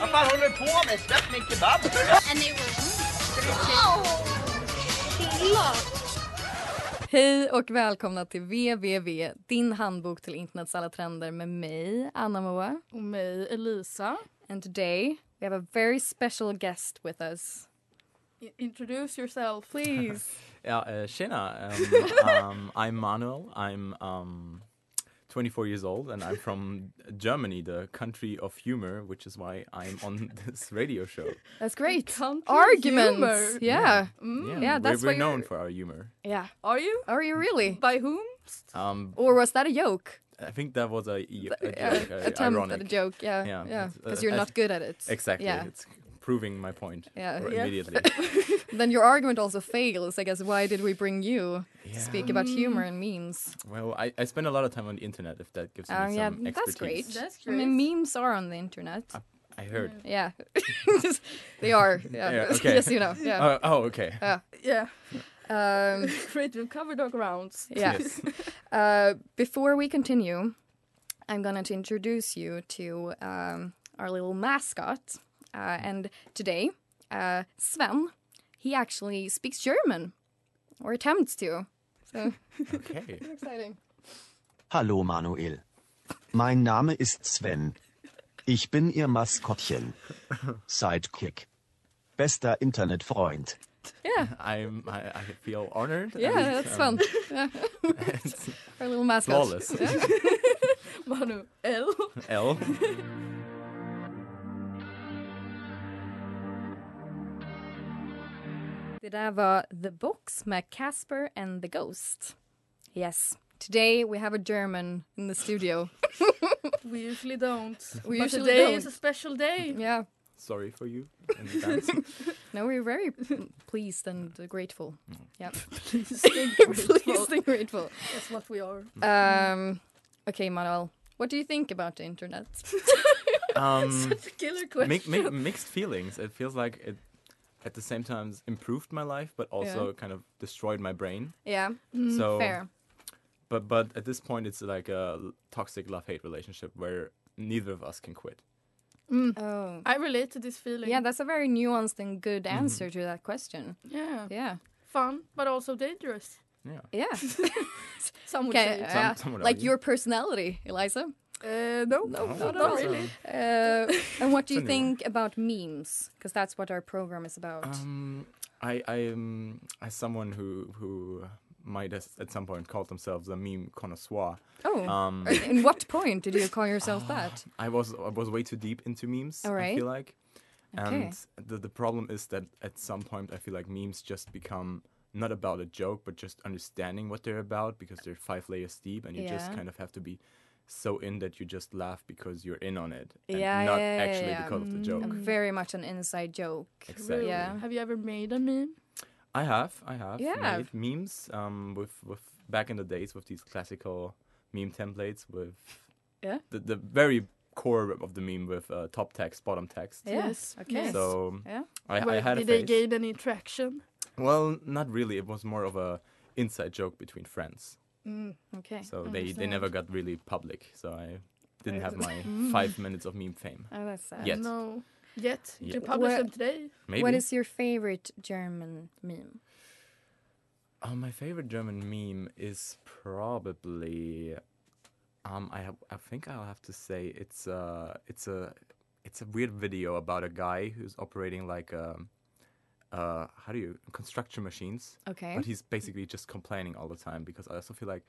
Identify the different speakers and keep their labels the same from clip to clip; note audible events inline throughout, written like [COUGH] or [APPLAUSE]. Speaker 1: Vad fan håller du på med? Släpp min kebab!
Speaker 2: Hej och välkomna till VVV, din handbok till internets alla trender med mig, Anna Moa.
Speaker 3: Och mig, Elisa.
Speaker 2: And today we have a very special guest with us.
Speaker 3: I- Introduce yourself, please.
Speaker 4: Yeah, uh, Shena.
Speaker 2: [LAUGHS]
Speaker 4: Um, um, I'm Manuel. I'm um, 24 years old and I'm from Germany, the country of humor, which is why I'm on [LAUGHS] this radio show.
Speaker 2: That's great.
Speaker 3: Country
Speaker 2: Arguments.
Speaker 3: humor.
Speaker 2: Yeah. Mm, Yeah,
Speaker 4: we're-
Speaker 2: that's
Speaker 4: we're,
Speaker 2: why
Speaker 4: known
Speaker 2: you're-
Speaker 4: for our humor.
Speaker 2: Yeah.
Speaker 3: Are you?
Speaker 2: Are you really?
Speaker 3: By whom?
Speaker 4: Um,
Speaker 2: Or was that a joke?
Speaker 4: I think that was a, a, a,
Speaker 2: Uh,
Speaker 4: joke, a
Speaker 2: attempt
Speaker 4: ironic.
Speaker 2: at a joke. Yeah.
Speaker 4: Yeah,
Speaker 2: Yeah.
Speaker 4: it's, uh,
Speaker 2: Because you're
Speaker 4: I
Speaker 2: not
Speaker 4: th-
Speaker 2: good at it.
Speaker 4: Exactly.
Speaker 2: Yeah. Uh,
Speaker 4: It's proving my point
Speaker 2: Yeah.
Speaker 4: r-
Speaker 2: [LAUGHS]
Speaker 3: Yeah.
Speaker 4: immediately.
Speaker 2: Then your argument also fails. I guess why did we bring you
Speaker 4: Yeah.
Speaker 2: to speak about humor and memes?
Speaker 4: Well, I, I spend a lot of time on the internet, if that gives me
Speaker 2: Uh,
Speaker 4: some
Speaker 2: yeah,
Speaker 4: expertise.
Speaker 2: that's great.
Speaker 3: That's
Speaker 2: I mean, memes are on the internet.
Speaker 4: I heard.
Speaker 2: Yeah, [LAUGHS] they are. Yeah, [LAUGHS]
Speaker 4: Yeah, okay.
Speaker 2: yes, you know. Yeah.
Speaker 4: Uh, oh, okay.
Speaker 3: Yeah. [LAUGHS]
Speaker 2: Um,
Speaker 3: Great, we've covered our grounds.
Speaker 2: yeah. [LAUGHS]
Speaker 4: Yes.
Speaker 2: Uh, before we continue, I'm gonna to introduce you to um, our little mascot. Uh, and today, uh, Sven, he actually speaks German, or attempts to. So
Speaker 4: Okay.
Speaker 2: exciting.
Speaker 5: Hallo Manuel. Mein Name ist Sven. Ich bin Ihr Maskottchen. Sidekick. Bester Internetfreund.
Speaker 2: Yeah,
Speaker 4: I'm, I, I feel honored.
Speaker 2: yeah,
Speaker 4: and,
Speaker 2: that's
Speaker 4: um,
Speaker 2: fun.
Speaker 4: [LAUGHS]
Speaker 2: Yeah. [LAUGHS] our little mascot.
Speaker 4: Flawless.
Speaker 2: [LAUGHS]
Speaker 3: Manu L.
Speaker 4: L.
Speaker 2: Det där var The Box med Casper and the Ghost. Yes, today we have a German in the studio.
Speaker 3: We usually don't.
Speaker 2: We
Speaker 3: but
Speaker 2: usually
Speaker 3: today
Speaker 2: don't.
Speaker 3: is a
Speaker 2: [LAUGHS]
Speaker 3: special day.
Speaker 2: Yeah,
Speaker 4: Sorry for you. in advance.
Speaker 2: no, we're very pleased and
Speaker 3: [LAUGHS]
Speaker 2: grateful. Yeah,
Speaker 3: Please,
Speaker 2: pleased and grateful.
Speaker 3: That's what we are.
Speaker 2: Um, okay, Manuel, what do you think about the internet?
Speaker 4: um,
Speaker 3: It's a killer question.
Speaker 4: mi- mi- mixed feelings. It feels like it, at the same time, improved my life, but also kind of destroyed my brain.
Speaker 2: yeah,
Speaker 4: so,
Speaker 2: Mm, fair.
Speaker 4: but but at this point, it's like a l- toxic love-hate relationship where neither of us can quit.
Speaker 2: Oh,
Speaker 3: I relate to this feeling.
Speaker 2: yeah, that's a very nuanced and good answer to that question.
Speaker 3: yeah.
Speaker 2: Yeah,
Speaker 3: Fun, but also dangerous.
Speaker 4: Yeah.
Speaker 2: [LAUGHS] yeah.
Speaker 3: Some would
Speaker 2: Okay,
Speaker 3: say.
Speaker 2: yeah.
Speaker 4: some would
Speaker 2: like
Speaker 4: argue.
Speaker 2: your personality, Eliza.
Speaker 3: Uh, no,
Speaker 2: No,
Speaker 4: Oh,
Speaker 2: not at
Speaker 3: not
Speaker 2: all.
Speaker 3: really.
Speaker 2: Uh, [LAUGHS] and what do you
Speaker 4: It's a new
Speaker 2: think about memes? Because that's what our program is about.
Speaker 4: Um, I I am as someone who who might as, at some point call themselves a meme connoisseur.
Speaker 2: oh,
Speaker 4: Um, Ah,
Speaker 2: in what point did you call yourself that?
Speaker 4: I was I was way too deep into memes. I
Speaker 2: Alright.
Speaker 4: feel like,
Speaker 2: Okay.
Speaker 4: and the the problem is that at some point I feel like memes just become not about a joke, but just understanding what they're about because they're five layers deep, and you just
Speaker 2: Yeah.
Speaker 4: kind of have to be so in that you just laugh because you're in on it, and
Speaker 2: Yeah,
Speaker 4: not
Speaker 2: yeah, yeah,
Speaker 4: actually
Speaker 2: yeah. um, Mm,
Speaker 4: because of the joke.
Speaker 2: Very much an inside joke.
Speaker 4: Exactly.
Speaker 2: Yeah.
Speaker 3: Have you ever made a meme?
Speaker 4: I have, I have
Speaker 2: Yeah.
Speaker 4: made memes um, with with back in the days with these classical meme templates with
Speaker 2: Yeah.
Speaker 4: the the very core of the meme with uh, top text, bottom text.
Speaker 2: Yeah,
Speaker 3: Yes.
Speaker 2: Okay.
Speaker 3: Yes.
Speaker 4: So
Speaker 2: yeah.
Speaker 4: I, I
Speaker 3: Where-
Speaker 4: had
Speaker 3: Did
Speaker 4: a
Speaker 3: they
Speaker 4: phase.
Speaker 3: gain any traction?
Speaker 4: Well, not really. It was more of a inside joke between friends.
Speaker 2: Okay.
Speaker 4: So they, they never got really public. So I didn't have my
Speaker 3: Mm.
Speaker 4: five minutes of meme fame.
Speaker 2: Oh, that's sad.
Speaker 4: Yet.
Speaker 3: No. Yet. You can
Speaker 4: Yet.
Speaker 3: publish
Speaker 2: Where-
Speaker 3: them today. [LAUGHS]
Speaker 4: Maybe.
Speaker 2: What is your favorite German meme?
Speaker 4: Oh, my favorite German meme is probably. Um, I have, I think I'll have to say it's a it's a it's a weird video about a guy who's operating like um uh how do you construction machines.
Speaker 2: Okay.
Speaker 4: But he's basically just complaining all the time because I also feel like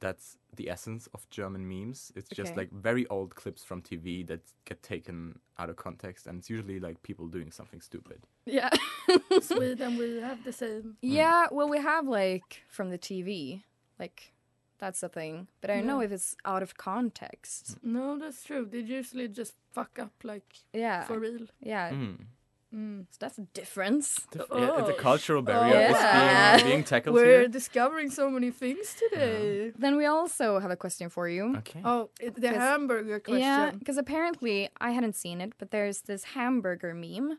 Speaker 4: that's the essence of German memes. It's just
Speaker 2: Okay.
Speaker 4: like very old clips from TV that get taken out of context, and it's usually like people doing something stupid.
Speaker 2: Yeah.
Speaker 3: Sweden, we have the same.
Speaker 2: yeah. Well, we have like from the TV, like That's the thing. But I don't know
Speaker 3: Yeah. Mm.
Speaker 2: if it's out of context.
Speaker 3: No, that's true. They usually just fuck up like
Speaker 2: Yeah.
Speaker 3: for real.
Speaker 2: yeah.
Speaker 4: Mm.
Speaker 2: So that's a difference.
Speaker 4: Yeah, it's a
Speaker 3: Oh.
Speaker 4: cultural barrier. It's
Speaker 2: Yeah.
Speaker 4: being, being tackled
Speaker 3: We're
Speaker 4: here.
Speaker 3: discovering so many things today.
Speaker 2: Then we also have a question for you.
Speaker 4: Okay.
Speaker 3: Oh, it- the hamburger question.
Speaker 2: Yeah, because apparently I hadn't seen it, but there's this hamburger meme,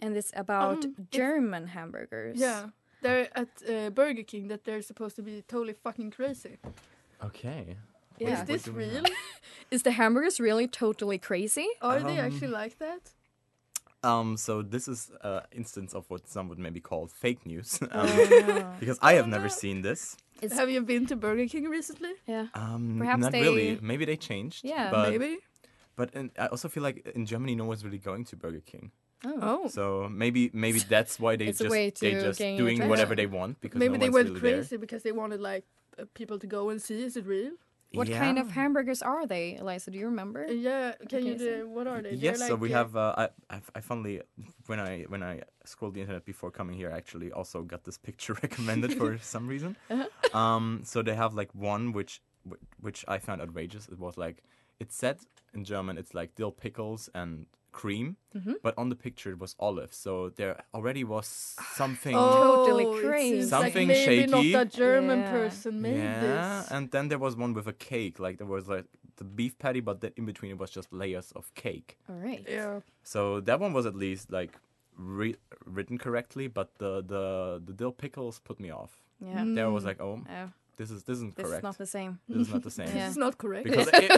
Speaker 2: and it's about
Speaker 3: Um, it's-
Speaker 2: German hamburgers.
Speaker 3: Yeah. They're at uh, Burger King that they're supposed to be totally fucking crazy.
Speaker 4: Okay.
Speaker 2: Yeah.
Speaker 3: Is this
Speaker 4: do we
Speaker 3: real?
Speaker 2: Is the hamburgers really totally crazy?
Speaker 3: Are they actually like that?
Speaker 4: Um, so this is an instance of what some would maybe call fake news, [LAUGHS]
Speaker 2: [LAUGHS]
Speaker 4: um, because I have never seen this.
Speaker 2: It's-
Speaker 3: Have you been to Burger King recently?
Speaker 2: Yeah.
Speaker 4: Um,
Speaker 2: Perhaps
Speaker 4: not
Speaker 2: they-
Speaker 4: really. Maybe they changed.
Speaker 2: Yeah.
Speaker 4: but,
Speaker 3: Maybe.
Speaker 4: But in, I also feel like in Germany, no one's really going to Burger King.
Speaker 3: Oh,
Speaker 4: So maybe maybe that's why they
Speaker 2: It's a
Speaker 4: just
Speaker 2: way
Speaker 4: they
Speaker 2: to
Speaker 4: just
Speaker 2: gain
Speaker 4: doing whatever
Speaker 2: attraction.
Speaker 4: they want because
Speaker 3: maybe
Speaker 4: no
Speaker 3: they
Speaker 4: one's
Speaker 3: went
Speaker 4: really
Speaker 3: crazy because they wanted like uh, people to go and see is it real?
Speaker 4: There.
Speaker 2: What
Speaker 4: yeah.
Speaker 2: kind of hamburgers are they, Eliza? Do you remember?
Speaker 3: Uh, yeah. Can you?
Speaker 2: Okay,
Speaker 3: do- what are they? They're
Speaker 4: Yes, so
Speaker 3: like,
Speaker 4: we
Speaker 3: uh,
Speaker 4: have. Uh, I, I I finally when I when I scrolled the internet before coming here, I actually also got this [LAUGHS] picture recommended
Speaker 2: [LAUGHS]
Speaker 4: for some reason.
Speaker 2: Uh-huh.
Speaker 4: Um, so they have like one which wh- which I found outrageous. It was like it said in German, it's like dill pickles and cream,
Speaker 2: Mm-hmm.
Speaker 4: but on the picture it was olive. So there already was something.
Speaker 2: Totally
Speaker 3: oh, it
Speaker 2: crazy.
Speaker 3: seems like
Speaker 4: Something
Speaker 3: maybe
Speaker 4: shaky.
Speaker 3: not a German
Speaker 2: Yeah.
Speaker 3: person made
Speaker 4: Yeah,
Speaker 3: this.
Speaker 4: and then there was one with a cake. Like there was like the beef patty, but then in between it was just layers of cake.
Speaker 2: All right.
Speaker 3: yeah.
Speaker 4: So that one was at least like re- written correctly, but the, the the dill pickles put me off.
Speaker 2: Yeah.
Speaker 3: Mm.
Speaker 4: There I was like, oh,
Speaker 2: Oh,
Speaker 4: this is this isn't
Speaker 2: this
Speaker 4: correct.
Speaker 2: is not the same.
Speaker 4: this is not the same.
Speaker 2: [LAUGHS] Yeah.
Speaker 3: This is not correct. [LAUGHS]
Speaker 4: Because i-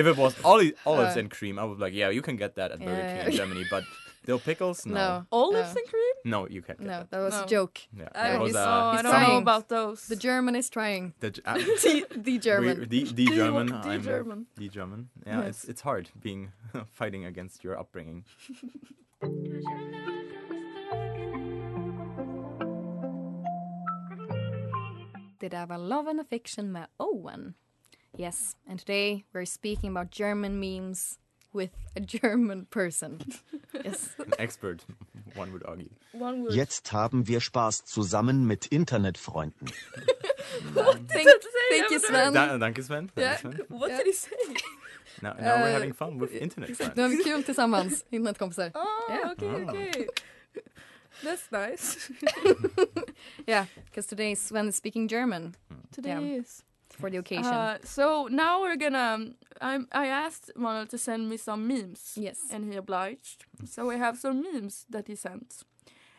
Speaker 4: if it was oli- olives and cream, I would be like, yeah, you can get that at Burger
Speaker 2: Yeah,
Speaker 4: King
Speaker 2: yeah.
Speaker 4: in Germany,
Speaker 2: [LAUGHS]
Speaker 4: but dill pickles, no,
Speaker 2: No.
Speaker 3: Olives
Speaker 2: No.
Speaker 3: and cream?
Speaker 4: no, you can't get
Speaker 2: No,
Speaker 4: that.
Speaker 2: that was a
Speaker 3: No.
Speaker 2: joke.
Speaker 4: Yeah,
Speaker 2: I
Speaker 4: that was
Speaker 2: was-
Speaker 4: uh,
Speaker 2: He's
Speaker 3: I don't know
Speaker 2: trying.
Speaker 3: about those.
Speaker 2: The German is trying.
Speaker 4: the,
Speaker 2: [LAUGHS]
Speaker 4: G- uh,
Speaker 2: the, the German.
Speaker 4: We, the, the German.
Speaker 3: the
Speaker 4: I'm
Speaker 3: German.
Speaker 4: The German. Yeah, it's it's hard being [LAUGHS] fighting against your upbringing.
Speaker 2: Det där var Love and Affection med Owen. Yes, and today we're speaking about German memes with a German
Speaker 3: [LAUGHS]
Speaker 2: person. yes. [LAUGHS]
Speaker 4: An expert, one would argue.
Speaker 3: One word.
Speaker 5: Jetzt haben wir Spaß zusammen mit Internetfreunden.
Speaker 2: Thank, thank you, Sven.
Speaker 4: Da, danke Sven. Danke,
Speaker 2: Yeah.
Speaker 4: Sven.
Speaker 3: What did he say?
Speaker 4: [LAUGHS] Now, now we're
Speaker 2: Uh,
Speaker 4: having fun with internet
Speaker 2: Nu har
Speaker 4: friends.
Speaker 2: vi kul tillsammans, [LAUGHS] internetkompisar.
Speaker 3: Oh,
Speaker 2: Yeah.
Speaker 3: okay, okay. That's
Speaker 2: [LAUGHS]
Speaker 3: nice.
Speaker 2: Yeah, because today Sven is speaking German
Speaker 3: Today
Speaker 2: Yeah.
Speaker 3: is.
Speaker 2: for the occasion.
Speaker 3: Uh, so now we're gonna. um, I'm, I asked Manuel to send me some memes.
Speaker 2: Yes.
Speaker 3: And he obliged. So we have some memes that he sent.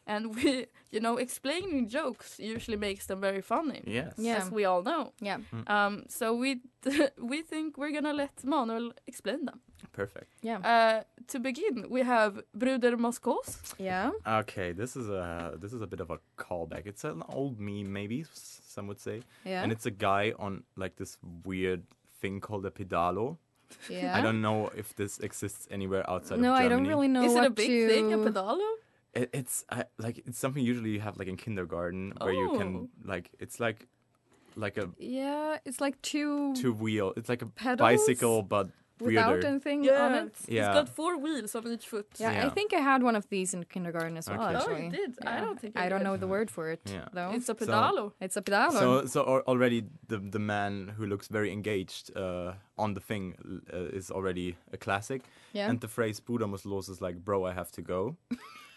Speaker 3: And we, [LAUGHS] you know, explaining jokes usually makes them very funny.
Speaker 4: Yes.
Speaker 2: Yeah.
Speaker 3: As we all know.
Speaker 2: yeah,
Speaker 4: Mm.
Speaker 3: Um, so we [LAUGHS] we think we're gonna let Manuel explain them.
Speaker 4: Perfect.
Speaker 2: yeah,
Speaker 3: Uh, to begin, we have Bruder Moskos.
Speaker 2: yeah.
Speaker 4: Okay, this is a this is a bit of a callback. It's an old meme, maybe s- some would say,
Speaker 2: Yeah.
Speaker 4: and it's a guy on like this weird thing called a pedalo.
Speaker 2: yeah.
Speaker 4: I don't know if this exists anywhere outside
Speaker 2: no,
Speaker 4: of Germany.
Speaker 2: I don't really know
Speaker 3: Is
Speaker 2: Oh, what
Speaker 3: it a big
Speaker 2: to...
Speaker 3: thing, a pedalo?
Speaker 4: It, it's I, like it's something usually you have like in kindergarten where you can
Speaker 3: Oh.
Speaker 4: like it's like like a
Speaker 2: Yeah, it's like two,
Speaker 4: two wheel. It's like a
Speaker 2: Pedals?
Speaker 4: bicycle but
Speaker 2: without
Speaker 4: weirder.
Speaker 2: anything on
Speaker 3: Yeah.
Speaker 2: it.
Speaker 3: It's
Speaker 4: Yeah.
Speaker 3: got four wheels on each foot.
Speaker 2: Yeah, I
Speaker 4: Yeah.
Speaker 2: think I had one of these in kindergarten as well.
Speaker 4: Okay.
Speaker 3: Oh,
Speaker 2: Actually.
Speaker 3: you did? I
Speaker 2: Yeah.
Speaker 3: don't think
Speaker 2: I
Speaker 3: I
Speaker 2: don't
Speaker 3: did.
Speaker 2: know the word for it
Speaker 4: Yeah.
Speaker 2: though.
Speaker 3: It's
Speaker 4: So-
Speaker 3: a pedalo.
Speaker 2: It's a pedalo.
Speaker 4: So, so al- already the the man who looks very engaged uh, on the thing uh, is already a classic.
Speaker 2: Yeah.
Speaker 4: And the phrase "Buddha must los" is like, "Bro, I have to go."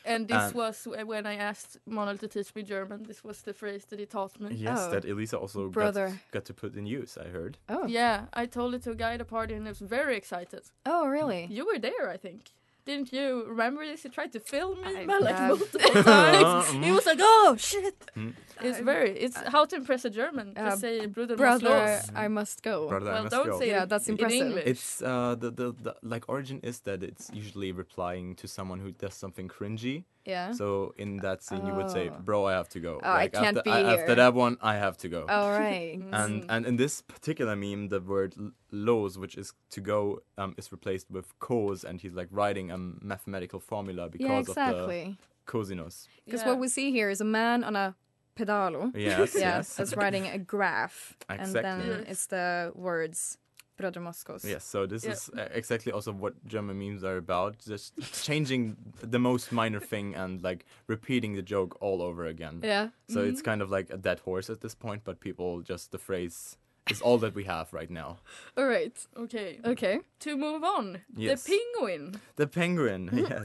Speaker 3: And this
Speaker 4: And-
Speaker 3: was w- when I asked Manuel to teach me German. This was the phrase that he taught me.
Speaker 4: yes,
Speaker 2: Oh.
Speaker 4: that Elisa also got,
Speaker 2: Brother.
Speaker 4: got to put in use. I heard.
Speaker 2: [LAUGHS] oh.
Speaker 3: Yeah, I told it to a guy at a party and he was very excited.
Speaker 2: oh, really?
Speaker 3: You were there, I think. Didn't you remember this? He tried to film me
Speaker 2: I-
Speaker 3: but, [LAUGHS] like
Speaker 2: yeah. [LAUGHS]
Speaker 3: multiple times.
Speaker 4: [LAUGHS]
Speaker 3: he was like, "Oh shit!"
Speaker 4: Mm.
Speaker 3: It's very. It's how to impress a German.
Speaker 2: Uh,
Speaker 3: to say "Bruder, must
Speaker 2: Brother,
Speaker 3: los."
Speaker 2: I must go.
Speaker 4: Brother, I
Speaker 3: Well,
Speaker 4: must
Speaker 3: don't
Speaker 4: go.
Speaker 3: say
Speaker 2: Yeah,
Speaker 3: it
Speaker 2: that's
Speaker 3: in
Speaker 2: impressive.
Speaker 3: English.
Speaker 4: It's uh, the, the the like origin is that it's usually replying to someone who does something cringy.
Speaker 2: Yeah.
Speaker 4: So in that scene, you would say, "Bro, I have to go."
Speaker 2: Oh, I can't
Speaker 4: after,
Speaker 2: be
Speaker 4: I-
Speaker 2: here. Oh,
Speaker 4: after that one, I have to go. [LAUGHS]
Speaker 2: All right.
Speaker 4: And and in this particular meme, the word l- los, which is to go, um, is replaced with cos, and he's like writing a mathematical formula because
Speaker 2: yeah,
Speaker 4: of the
Speaker 2: exactly. [LAUGHS]
Speaker 4: cosinus.
Speaker 2: Because
Speaker 3: Yeah.
Speaker 2: what we see here is a man on a pedalo.
Speaker 4: Yes,
Speaker 2: Yeah,
Speaker 4: yes. [LAUGHS]
Speaker 2: that's writing a graph, and
Speaker 4: Exactly.
Speaker 2: then it's the words "Brother Moscos."
Speaker 4: Yes, so this
Speaker 3: Yeah.
Speaker 4: is uh, exactly also what German memes are about, just changing the most minor thing and like repeating the joke all over again.
Speaker 2: Yeah.
Speaker 3: Mm-hmm.
Speaker 4: So it's kind of like a dead horse at this point, but people just the phrase is all that we have right now.
Speaker 2: All right. [LAUGHS]
Speaker 3: Okay.
Speaker 2: Okay.
Speaker 3: To move on,
Speaker 4: Yes.
Speaker 3: [LAUGHS] the penguin.
Speaker 4: The
Speaker 3: [LAUGHS]
Speaker 4: penguin, yes.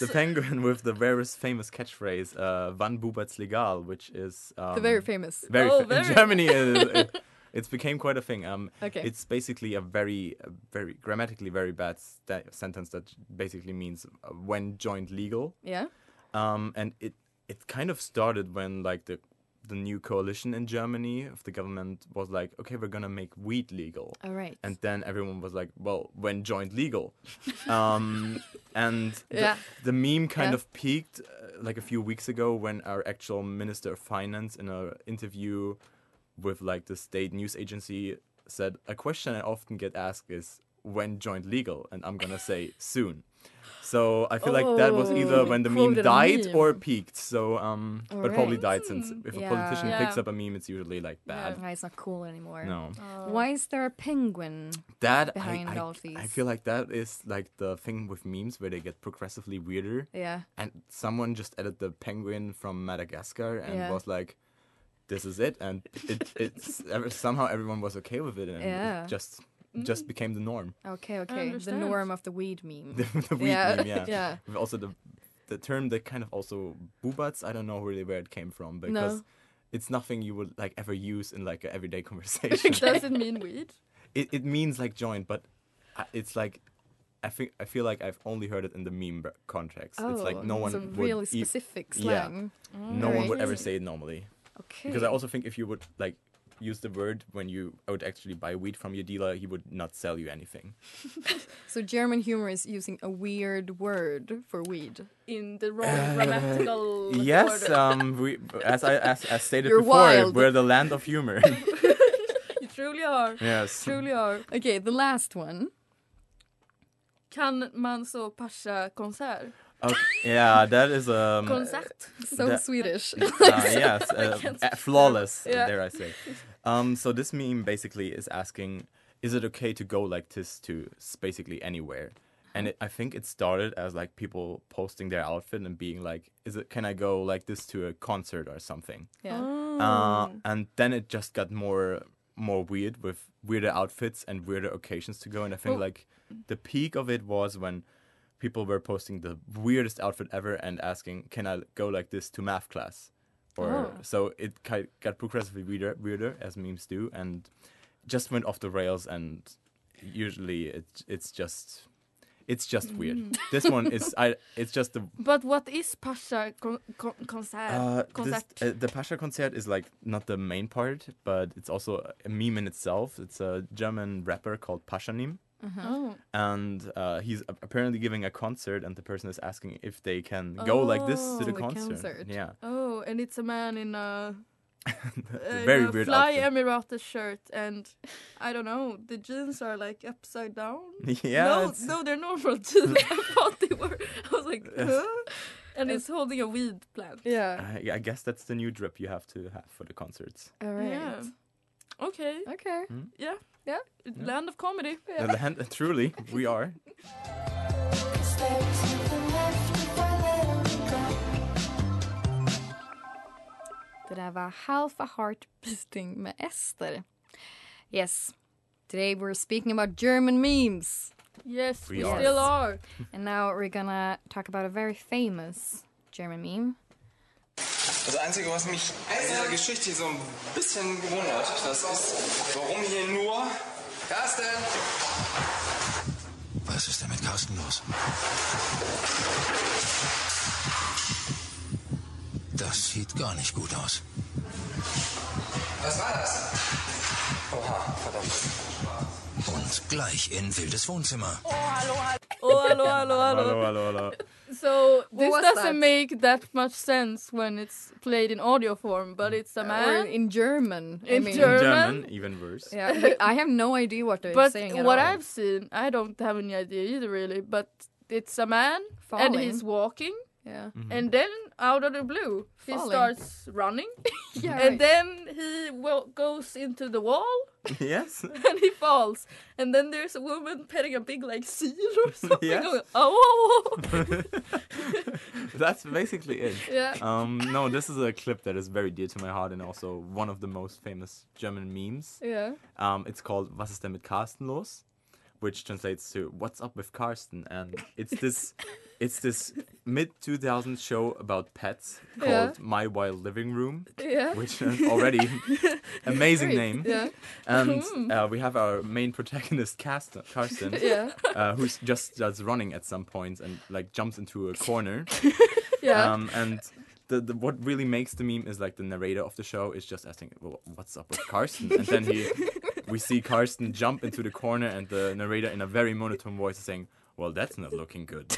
Speaker 4: The penguin with the very famous catchphrase, uh, "Wann bubert's legal," which is um,
Speaker 2: The very famous.
Speaker 4: very
Speaker 3: Oh,
Speaker 4: fa- in
Speaker 3: very-
Speaker 4: Germany.
Speaker 3: [LAUGHS]
Speaker 4: it, it, it's became quite a thing. Um,
Speaker 2: Okay.
Speaker 4: It's basically a very, a very grammatically very bad sta sentence that basically means uh, when joined legal.
Speaker 2: Yeah.
Speaker 4: Um, and it it kind of started when like the the new coalition in Germany of the government was like, okay, we're gonna make weed legal.
Speaker 2: All right.
Speaker 4: And then everyone was like, well, when joined
Speaker 2: [LAUGHS]
Speaker 4: legal. Um, and the,
Speaker 2: Yeah.
Speaker 4: the meme kind
Speaker 2: Yeah.
Speaker 4: of peaked uh, like a few weeks ago when our actual minister of finance in an interview with like the state news agency said, a question I often get asked is when joined legal? And I'm going to say soon. So I feel like that was either
Speaker 2: Oh,
Speaker 4: when the meme
Speaker 2: quoted a
Speaker 4: died
Speaker 2: meme. Mm.
Speaker 4: or peaked. So, um, but probably died since if a
Speaker 2: Yeah.
Speaker 4: politician
Speaker 3: Yeah.
Speaker 4: picks up a meme, it's usually like bad.
Speaker 2: Ah, it's not cool anymore.
Speaker 4: No.
Speaker 2: Why is there a penguin?
Speaker 4: that I-
Speaker 2: behind
Speaker 4: I,
Speaker 2: all of
Speaker 4: I
Speaker 2: these.
Speaker 4: feel like that is like the thing with memes where they get progressively weirder.
Speaker 2: Yeah.
Speaker 4: And someone just added the penguin from Madagascar and
Speaker 2: Yeah.
Speaker 4: was like, "This is it," and it, it's ever, somehow everyone was okay with it, and
Speaker 2: Yeah. Mm-hmm.
Speaker 4: it just just became the norm. [LAUGHS]
Speaker 2: Okay. Okay. The
Speaker 3: understand.
Speaker 2: norm of the weed meme.
Speaker 4: the weed
Speaker 2: Yeah,
Speaker 4: meme, yeah.
Speaker 2: [LAUGHS] yeah.
Speaker 4: With Also the the term that kind of also boobats. I don't know really where it came
Speaker 2: No.
Speaker 4: from because. It's nothing you would like ever use in like an
Speaker 2: [LAUGHS]
Speaker 4: everyday conversation.
Speaker 3: Does it mean weed?
Speaker 4: it, it means like joint, but I- it's like I think I feel like I've only heard it in the meme b- context. it's like no one
Speaker 2: Oh, it's a
Speaker 4: would
Speaker 2: really
Speaker 4: e-
Speaker 2: specific
Speaker 4: yeah.
Speaker 2: slang.
Speaker 4: no one would ever
Speaker 2: Alright.
Speaker 4: say it normally
Speaker 2: Okay.
Speaker 4: because I also think if you would like use the word when you would actually buy weed from your dealer, he would not sell you anything.
Speaker 2: so German humor is using a weird word for weed.
Speaker 3: In the wrong grammatical
Speaker 4: Uh, Yes,
Speaker 3: order.
Speaker 4: um, we as I as,
Speaker 2: [LAUGHS]
Speaker 4: as stated
Speaker 2: You're
Speaker 4: before,
Speaker 2: wild.
Speaker 4: we're the land of humor. [LAUGHS]
Speaker 3: You truly are.
Speaker 4: yes.
Speaker 3: Truly are.
Speaker 2: Okay, the last one.
Speaker 3: Kan man så passa konsert?
Speaker 4: Oh, yeah, that is um.
Speaker 3: Konsert?
Speaker 2: So
Speaker 4: That-
Speaker 2: Swedish.
Speaker 4: uh, yes, uh, uh, flawless,
Speaker 3: Yeah.
Speaker 4: dare I say. Um, so this meme basically is asking, is it okay to go like this to s- basically anywhere? And it, I think it started as like people posting their outfit and being like, is it can I go like this to a concert or something?
Speaker 2: yeah.
Speaker 4: Uh, and then it just got more more weird with weirder outfits and weirder occasions to go. And I think like the peak of it was when people were posting the weirdest outfit ever and asking, "Can I go like this to math class?" Or so it ki- got progressively weirder, weirder as memes do, and just went off the rails. And usually it it's just. It's just weird. this one is I. It's just the
Speaker 3: But what is passa kon- kon- konsert?
Speaker 4: uh, this,
Speaker 3: konsert?
Speaker 4: uh, the Pasha concert is like not the main part, but it's also a meme in itself. It's a German rapper called Pashanim,
Speaker 3: oh.
Speaker 4: and uh, he's a- apparently giving a concert, and the person is asking if they can go like this to
Speaker 3: Oh.
Speaker 4: the
Speaker 2: The
Speaker 4: concert.
Speaker 2: concert.
Speaker 4: Yeah, [LAUGHS]
Speaker 3: oh, and it's a man in a,
Speaker 4: a
Speaker 3: in
Speaker 4: very
Speaker 3: a
Speaker 4: weird
Speaker 3: fly
Speaker 4: outfit.
Speaker 3: Emirates shirt, and I don't know, the jeans are like upside down.
Speaker 4: yeah,
Speaker 3: no,
Speaker 4: it's-
Speaker 3: no, they're normal [LAUGHS] jeans.
Speaker 4: [LAUGHS]
Speaker 3: I thought they were. I was like, huh? and it's holding a weed plant.
Speaker 2: Yeah.
Speaker 4: I, I guess that's the new drip you have to have for the concerts.
Speaker 2: All right.
Speaker 3: Yeah. Okay.
Speaker 2: Okay.
Speaker 3: Yeah.
Speaker 2: Yeah.
Speaker 3: Land of comedy.
Speaker 4: The land, [LAUGHS] truly, we are.
Speaker 2: Det där var Half a Heart Beating med Ester. Yes. Today we're speaking about German memes.
Speaker 3: Yes,
Speaker 4: We
Speaker 3: we,
Speaker 4: are.
Speaker 3: still are.
Speaker 2: And now we're gonna talk about a very famous German meme.
Speaker 6: Das Einzige, was mich in dieser Geschichte so ein bisschen gewundert, das ist, warum hier nur... Carsten! Was ist denn mit Carsten los? Das sieht gar nicht gut aus. Was war das? Oha, verdammt. Und gleich in Wildes Wohnzimmer.
Speaker 3: Oh, hello, hello, hello.
Speaker 4: Hello, hello, hello.
Speaker 3: So this
Speaker 2: was that?
Speaker 3: doesn't make that much sense when it's played in audio form, but it's a
Speaker 2: Or
Speaker 3: man
Speaker 2: in German. I
Speaker 3: in
Speaker 2: mean.
Speaker 3: German.
Speaker 4: German, even worse.
Speaker 3: [LAUGHS]
Speaker 2: Yeah, but I have no idea what they're
Speaker 3: But
Speaker 2: saying. at
Speaker 3: what
Speaker 2: all.
Speaker 3: I've seen, I don't have any idea either, really. But it's a man and
Speaker 2: Falling.
Speaker 3: he's walking,
Speaker 2: Mm-hmm.
Speaker 4: [LAUGHS]
Speaker 3: Yeah. And then out of the blue, he
Speaker 2: Falling.
Speaker 3: starts running,
Speaker 2: Yeah,
Speaker 3: and then he wo- goes into the wall
Speaker 4: [LAUGHS]
Speaker 3: [LAUGHS]
Speaker 4: yes. [LAUGHS]
Speaker 3: and he falls. And then there's a woman petting a big like seal or [LAUGHS] something.
Speaker 4: Yes.
Speaker 3: Going, oh, oh, oh."
Speaker 4: That's basically it.
Speaker 3: yeah.
Speaker 4: Um, no, this is a clip that is very dear to my heart and also one of the most famous German memes.
Speaker 3: Yeah.
Speaker 4: Um, it's called Was ist denn mit Carsten los? Which translates to What's up with Carsten? And
Speaker 3: [LAUGHS]
Speaker 4: it's this, it's this mid 2000s show about pets called
Speaker 3: Yeah.
Speaker 4: My Wild Living Room,
Speaker 3: Yeah.
Speaker 4: which is
Speaker 3: [LAUGHS]
Speaker 4: already amazing name.
Speaker 3: Yeah.
Speaker 4: And uh, we have our main protagonist Carsten, Carsten
Speaker 3: [LAUGHS] Yeah.
Speaker 4: uh, who just starts running at some points and like jumps into a corner.
Speaker 3: [LAUGHS] Yeah.
Speaker 4: Um, and the, the what really makes the meme is like the narrator of the show is just asking, well, "What's up with Carsten?" And then he, we see Carsten jump into the corner, and the narrator in a very monotone voice is saying, "Well, that's not looking good."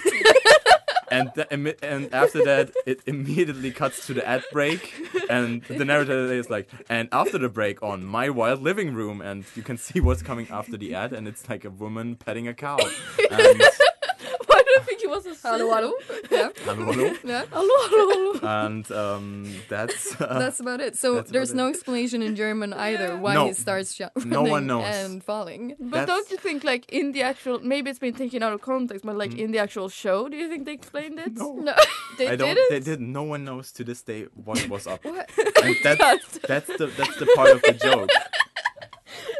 Speaker 4: And, the, imi- and after that, it immediately cuts to the ad break, and the narrator is like, and after the break on my wild living room, and you can see what's coming after the ad, and it's like a woman petting a
Speaker 3: [LAUGHS]
Speaker 4: cow. And,
Speaker 3: Why do I think he was a seal?
Speaker 2: Hello, hello. [LAUGHS] Yeah.
Speaker 4: Hallo, hallo.
Speaker 3: [LAUGHS]
Speaker 2: Yeah. Oh,
Speaker 3: Hello, hello, hello.
Speaker 4: and um, that's uh,
Speaker 2: That's about it. So
Speaker 4: That's
Speaker 2: there's
Speaker 4: about
Speaker 2: no
Speaker 4: it.
Speaker 2: explanation in German either why
Speaker 4: No.
Speaker 2: he starts ju- running
Speaker 4: No one knows.
Speaker 2: and falling.
Speaker 3: But
Speaker 4: That's-
Speaker 3: don't you think, like, in the actual, maybe it's been taken out of context, but
Speaker 4: Mm.
Speaker 3: like in the actual show, do you think they explained it? No, they
Speaker 4: I don't.
Speaker 3: didn't. Oh
Speaker 4: They didn't. No one knows to this day
Speaker 3: [LAUGHS]
Speaker 4: what was up.
Speaker 2: What? [LAUGHS]
Speaker 4: And that's that's the that's the part of the joke.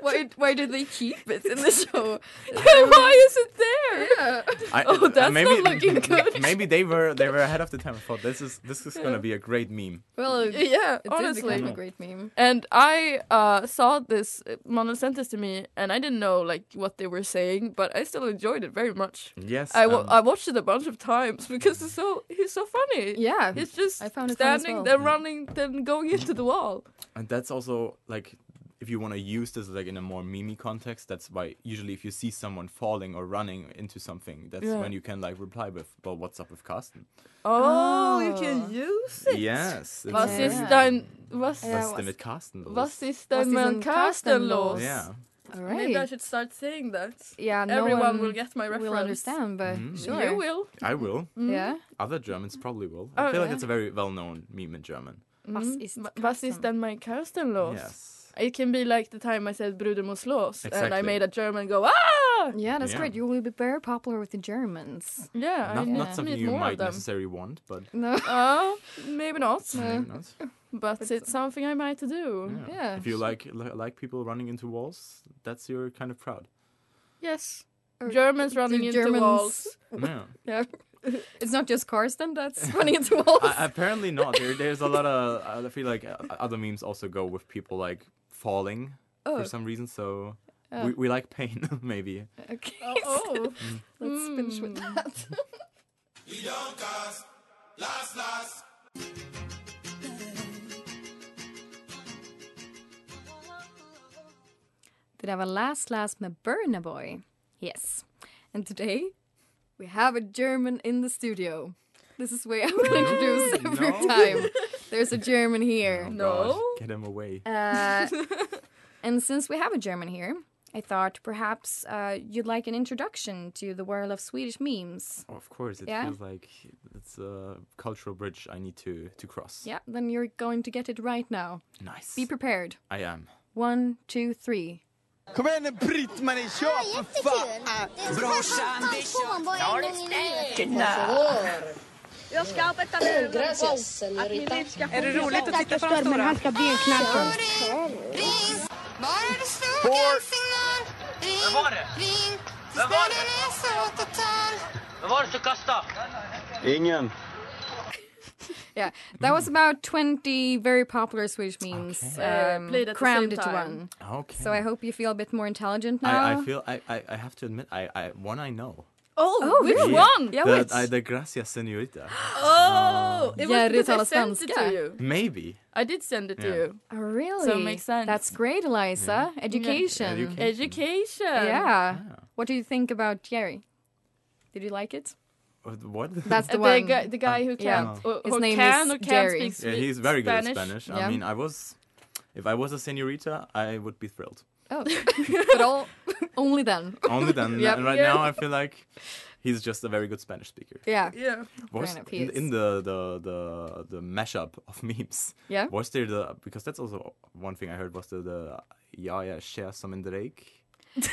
Speaker 2: Why, why did they keep it in [LAUGHS] the show?
Speaker 3: [LAUGHS] Why is it there?
Speaker 2: Yeah.
Speaker 4: I,
Speaker 3: [LAUGHS] Oh,
Speaker 4: uh,
Speaker 3: that's
Speaker 4: maybe,
Speaker 3: not looking good.
Speaker 4: Maybe they were they were ahead of the time. I thought this is this is gonna be a great meme.
Speaker 2: Well, it,
Speaker 3: [LAUGHS] Yeah,
Speaker 2: it did
Speaker 3: honestly.
Speaker 2: become a great meme.
Speaker 3: And I uh, saw this uh, Mona sent this to me, and I didn't know like what they were saying, but I still enjoyed it very much.
Speaker 4: Yes.
Speaker 3: I wa-
Speaker 4: um,
Speaker 3: I watched it a bunch of times [LAUGHS] because it's so he's so funny.
Speaker 2: Yeah.
Speaker 3: he's just
Speaker 2: I found it funny as
Speaker 3: standing
Speaker 2: well.
Speaker 3: there, running, then going into the wall.
Speaker 4: and that's also like if you want to use this like in a more meme context, that's why usually if you see someone falling or running into something, that's
Speaker 3: Yeah.
Speaker 4: when you can like reply with, "Well, what's up with Carsten?"
Speaker 3: Oh, you can use it.
Speaker 4: Yes. it's
Speaker 3: Was
Speaker 4: very-
Speaker 3: ist dein was
Speaker 2: Yeah.
Speaker 4: Was denn mit Carsten los?
Speaker 3: was
Speaker 2: Was
Speaker 3: ist dein
Speaker 2: ist
Speaker 3: man
Speaker 2: denn Carsten
Speaker 3: Carsten los?
Speaker 2: los?
Speaker 4: Yeah.
Speaker 2: All
Speaker 3: Maybe I
Speaker 2: right.
Speaker 3: should start saying that.
Speaker 2: Yeah, no
Speaker 3: Everyone
Speaker 2: one
Speaker 3: will get my reference.
Speaker 2: will understand, but
Speaker 4: Mm.
Speaker 2: sure.
Speaker 3: You will.
Speaker 4: I will.
Speaker 2: Yeah.
Speaker 4: Other Germans probably will. I
Speaker 3: Oh,
Speaker 4: feel like
Speaker 3: yeah.
Speaker 4: it's a very well-known meme in German.
Speaker 3: Mm.
Speaker 2: Was ist
Speaker 3: Wa- Was ist denn mein Carsten los?
Speaker 4: Yes.
Speaker 3: It can be like the time I said Bruder muss los and I
Speaker 4: Exactly.
Speaker 3: made a German go ah
Speaker 2: Yeah, that's
Speaker 4: Yeah.
Speaker 2: great. You will be very popular with the Germans. [LAUGHS]
Speaker 3: yeah I
Speaker 4: Not,
Speaker 3: need
Speaker 4: not
Speaker 3: to
Speaker 4: something
Speaker 3: meet
Speaker 4: you
Speaker 3: more
Speaker 4: might
Speaker 3: of them.
Speaker 4: necessarily want, but
Speaker 2: No.
Speaker 3: Uh, maybe not
Speaker 4: maybe not.
Speaker 3: [LAUGHS] but it's something I might do
Speaker 4: Yeah.
Speaker 2: Yeah.
Speaker 4: If you like li- like people running into walls, that's your kind of crowd.
Speaker 3: yes
Speaker 2: Or
Speaker 3: Germans
Speaker 2: do
Speaker 3: running into
Speaker 2: Germans-
Speaker 3: walls
Speaker 4: Yeah.
Speaker 2: Yeah. It's not just Karsten
Speaker 4: [LAUGHS]
Speaker 2: that's [LAUGHS] running into walls.
Speaker 4: I, apparently not. There, there's a lot of. I feel like uh, other memes also go with people like falling
Speaker 2: Oh.
Speaker 4: for some reason. So
Speaker 2: Oh.
Speaker 4: we, we like pain, [LAUGHS] maybe.
Speaker 2: okay.
Speaker 3: oh
Speaker 2: Let's finish with that. Det där var Last Last med Burna Boy. Yes. And today we have a German in the studio. This is way I would introduce every
Speaker 4: No.
Speaker 2: time. There's a German here.
Speaker 4: God,
Speaker 3: No.
Speaker 4: Oh, get him away.
Speaker 2: Uh, and since we have a German here, I thought perhaps uh, you'd like an introduction to the world of Swedish memes.
Speaker 4: Oh, of course, it
Speaker 2: yeah.
Speaker 4: feels like it's a cultural bridge I need to to cross.
Speaker 2: Yeah, then you're going to get it right now.
Speaker 4: Nice.
Speaker 2: Be prepared.
Speaker 4: I am.
Speaker 2: One, two, three.
Speaker 6: Kom igen nu Britt-Marie, kör för fan! Brorsan, det kör!
Speaker 1: Får! Vem var det? Vem var det? Vem var det som kastade?
Speaker 5: Ingen.
Speaker 2: Yeah, that
Speaker 4: Hmm.
Speaker 2: was about 20 very popular Swedish memes
Speaker 3: Yeah,
Speaker 2: um,
Speaker 3: Uh, played at the
Speaker 2: crammed
Speaker 3: same
Speaker 2: into
Speaker 3: time.
Speaker 2: one.
Speaker 4: Okay.
Speaker 2: So I hope you feel a bit more intelligent now.
Speaker 4: Hmm. I, I feel I, I, I have to admit I, I one I know.
Speaker 3: oh, which
Speaker 2: really?
Speaker 3: one
Speaker 2: Yeah,
Speaker 4: the,
Speaker 2: which?
Speaker 4: I, the Gracias Senorita. [GASPS]
Speaker 3: oh it
Speaker 2: Yeah,
Speaker 3: was because I
Speaker 2: Ritalas
Speaker 3: sent it
Speaker 2: danska.
Speaker 3: to you
Speaker 4: Maybe.
Speaker 3: I did send it to
Speaker 4: Yeah.
Speaker 3: you
Speaker 2: Oh, really?
Speaker 3: So it makes sense.
Speaker 2: That's great, Eliza. Education.
Speaker 4: Education.
Speaker 3: education
Speaker 2: Yeah. What do you think about Jerry? Did you like it?
Speaker 4: What- What?
Speaker 2: That's the
Speaker 3: the,
Speaker 2: one. Oh,
Speaker 3: guy, the guy who
Speaker 2: Yeah.
Speaker 3: can't, or,
Speaker 2: His
Speaker 3: who
Speaker 2: name
Speaker 3: can
Speaker 2: is
Speaker 3: or can't
Speaker 2: Jerry.
Speaker 3: speak
Speaker 4: Oh. yeah,
Speaker 3: spe-
Speaker 4: he's very good at
Speaker 3: Spanish.
Speaker 4: Spanish.
Speaker 2: Yeah.
Speaker 4: I mean, I was, if I was a Senorita, I would be thrilled.
Speaker 3: [LAUGHS]
Speaker 2: Oh, but all, only then.
Speaker 4: Only then.
Speaker 2: Yep.
Speaker 4: And right
Speaker 3: Yeah.
Speaker 4: now, I feel like He's just a very good Spanish speaker.
Speaker 3: [LAUGHS]
Speaker 2: Yeah.
Speaker 3: Yeah.
Speaker 4: Was
Speaker 2: enough, he
Speaker 4: in,
Speaker 2: is.
Speaker 4: in the, the the the mashup of [LAUGHS] memes.
Speaker 2: Yeah.
Speaker 4: Was there the because that's also one thing I heard was the, the ja ja share some in Drake. was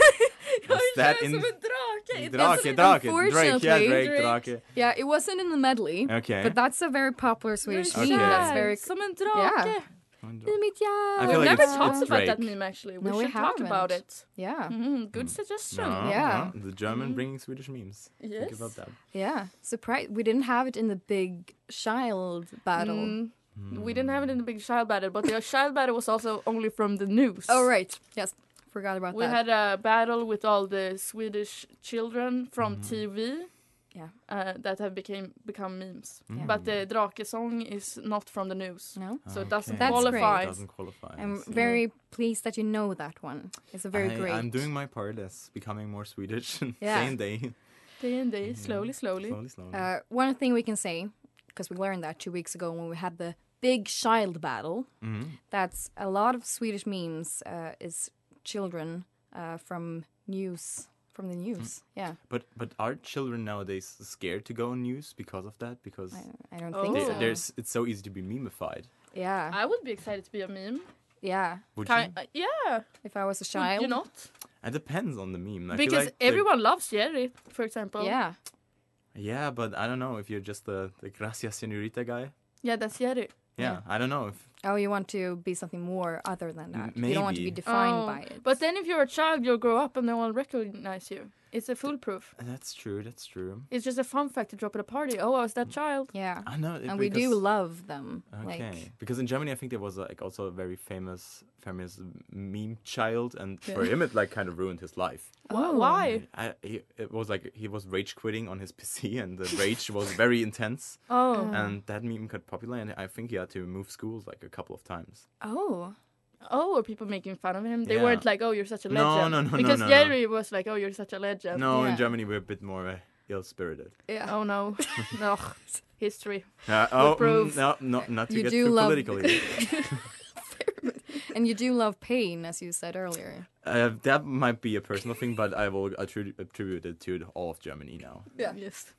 Speaker 3: Oh,
Speaker 4: that in
Speaker 3: drake.
Speaker 4: Drake Drake Drake yeah
Speaker 2: Unfortunately,
Speaker 4: Drake
Speaker 3: Drake.
Speaker 4: Drake.
Speaker 2: Yeah, it wasn't in the medley.
Speaker 4: Okay.
Speaker 2: But that's a very popular Swedish
Speaker 4: Okay.
Speaker 2: meme. That's
Speaker 4: sad.
Speaker 2: very.
Speaker 3: Som en
Speaker 2: Yeah.
Speaker 3: drake.
Speaker 2: I mitt hjärta.
Speaker 4: I
Speaker 3: We've
Speaker 4: feel like
Speaker 3: never
Speaker 4: it's-
Speaker 3: talked
Speaker 4: it's
Speaker 3: about
Speaker 4: Drake. Mm-hmm.
Speaker 3: that meme actually. We
Speaker 2: No, we
Speaker 3: should talk about
Speaker 2: haven't. Uh-huh.
Speaker 3: it.
Speaker 2: Yeah.
Speaker 3: Mm, good suggestion.
Speaker 4: No,
Speaker 2: Yeah.
Speaker 4: no, The German bringing Swedish memes. Think
Speaker 3: Yes.
Speaker 4: about that.
Speaker 2: Yeah. Surprise. We didn't have it in the big child battle.
Speaker 3: Mm, We didn't have it in the big child battle, but the child battle was also only from the news.
Speaker 2: Oh, right. Yes. Forgot about
Speaker 3: We
Speaker 2: that.
Speaker 3: had a battle with all the Swedish children from
Speaker 4: Mm-hmm.
Speaker 3: TV.
Speaker 2: Yeah.
Speaker 3: Uh, that have became become memes.
Speaker 2: Yeah.
Speaker 4: Mm.
Speaker 3: But the Drake song is not from the news.
Speaker 2: no?
Speaker 3: So it doesn't
Speaker 4: Okay.
Speaker 2: That's great.
Speaker 3: qualify.
Speaker 4: Doesn't qualify. I
Speaker 2: I'm
Speaker 4: see.
Speaker 2: very pleased that you know that one. It's a very
Speaker 4: I,
Speaker 2: great.
Speaker 4: I'm doing my part as becoming more Swedish.
Speaker 2: Yeah.
Speaker 4: Same day.
Speaker 3: Day and day, slowly, slowly.
Speaker 4: Mm-hmm. slowly, slowly.
Speaker 2: Uh, one thing we can say, because we learned that two weeks ago when we had the big child battle,
Speaker 4: Mm-hmm.
Speaker 2: that's a lot of Swedish memes uh, is children uh, from news, from the news. Yeah,
Speaker 4: but but are children nowadays scared to go on news because of that? Because
Speaker 2: I don't
Speaker 3: Oh.
Speaker 2: think
Speaker 4: they,
Speaker 2: so.
Speaker 4: there's it's so easy to be memeified.
Speaker 2: Yeah,
Speaker 3: I would be excited to be a meme.
Speaker 2: yeah.
Speaker 4: Would
Speaker 3: Ki-
Speaker 4: you?
Speaker 3: uh, yeah.
Speaker 2: If I was a
Speaker 3: Would
Speaker 2: child,
Speaker 3: you not?
Speaker 4: It depends on the meme. I feel
Speaker 3: because
Speaker 4: like the-
Speaker 3: everyone loves Jerry, for example.
Speaker 2: yeah,
Speaker 4: Yeah, but I don't know if you're just the the gracias señorita guy.
Speaker 3: Yeah, that's Jerry.
Speaker 4: Yeah, I don't know if
Speaker 2: oh, you want to be something more other than that.
Speaker 4: M-
Speaker 2: You don't want to be
Speaker 4: maybe.
Speaker 2: defined
Speaker 3: Oh,
Speaker 2: by it.
Speaker 3: But then if you're a child, you'll grow up and no one will recognize you. It's a foolproof.
Speaker 4: that's true. That's true.
Speaker 3: It's just a fun fact to drop at a party. Oh, I was that child.
Speaker 2: yeah,
Speaker 4: I know. Ah, it-
Speaker 2: and we do
Speaker 4: because-
Speaker 2: love them.
Speaker 4: Okay,
Speaker 2: Like,
Speaker 4: because in Germany, I think there was like also a very famous famous meme child, and for him, it like kind of ruined his life.
Speaker 2: Oh.
Speaker 3: Wh- Why?
Speaker 4: I, he, it was like he was rage quitting on his [LAUGHS] PC, and the rage was very
Speaker 2: [LAUGHS]
Speaker 4: intense,
Speaker 3: Oh.
Speaker 2: Uh-huh.
Speaker 4: and that meme got popular, and I think he had to move schools like a couple of times.
Speaker 2: oh,
Speaker 3: Oh, were people making fun of him? They
Speaker 4: Yeah.
Speaker 3: weren't like, oh, you're such a
Speaker 4: No,
Speaker 3: legend.
Speaker 4: no, no, no,
Speaker 3: Because
Speaker 4: no, no.
Speaker 3: Jerry was like, oh, you're such a legend.
Speaker 4: No,
Speaker 2: Yeah.
Speaker 4: in Germany, we're a bit more uh, ill
Speaker 2: [LAUGHS]
Speaker 4: spirited.
Speaker 2: yeah.
Speaker 3: Oh, no.
Speaker 4: [LAUGHS]
Speaker 3: no. History.
Speaker 4: Uh, oh, mm,
Speaker 3: proof.
Speaker 4: no, no, not to
Speaker 2: You
Speaker 4: get
Speaker 2: do
Speaker 4: too
Speaker 2: love- [LAUGHS]
Speaker 4: political. here.
Speaker 2: And you do love pain, as you said earlier.
Speaker 4: uh, that might be a personal thing, but I will attrib- attribute it to all of Germany now.
Speaker 2: Yeah.
Speaker 3: Yes.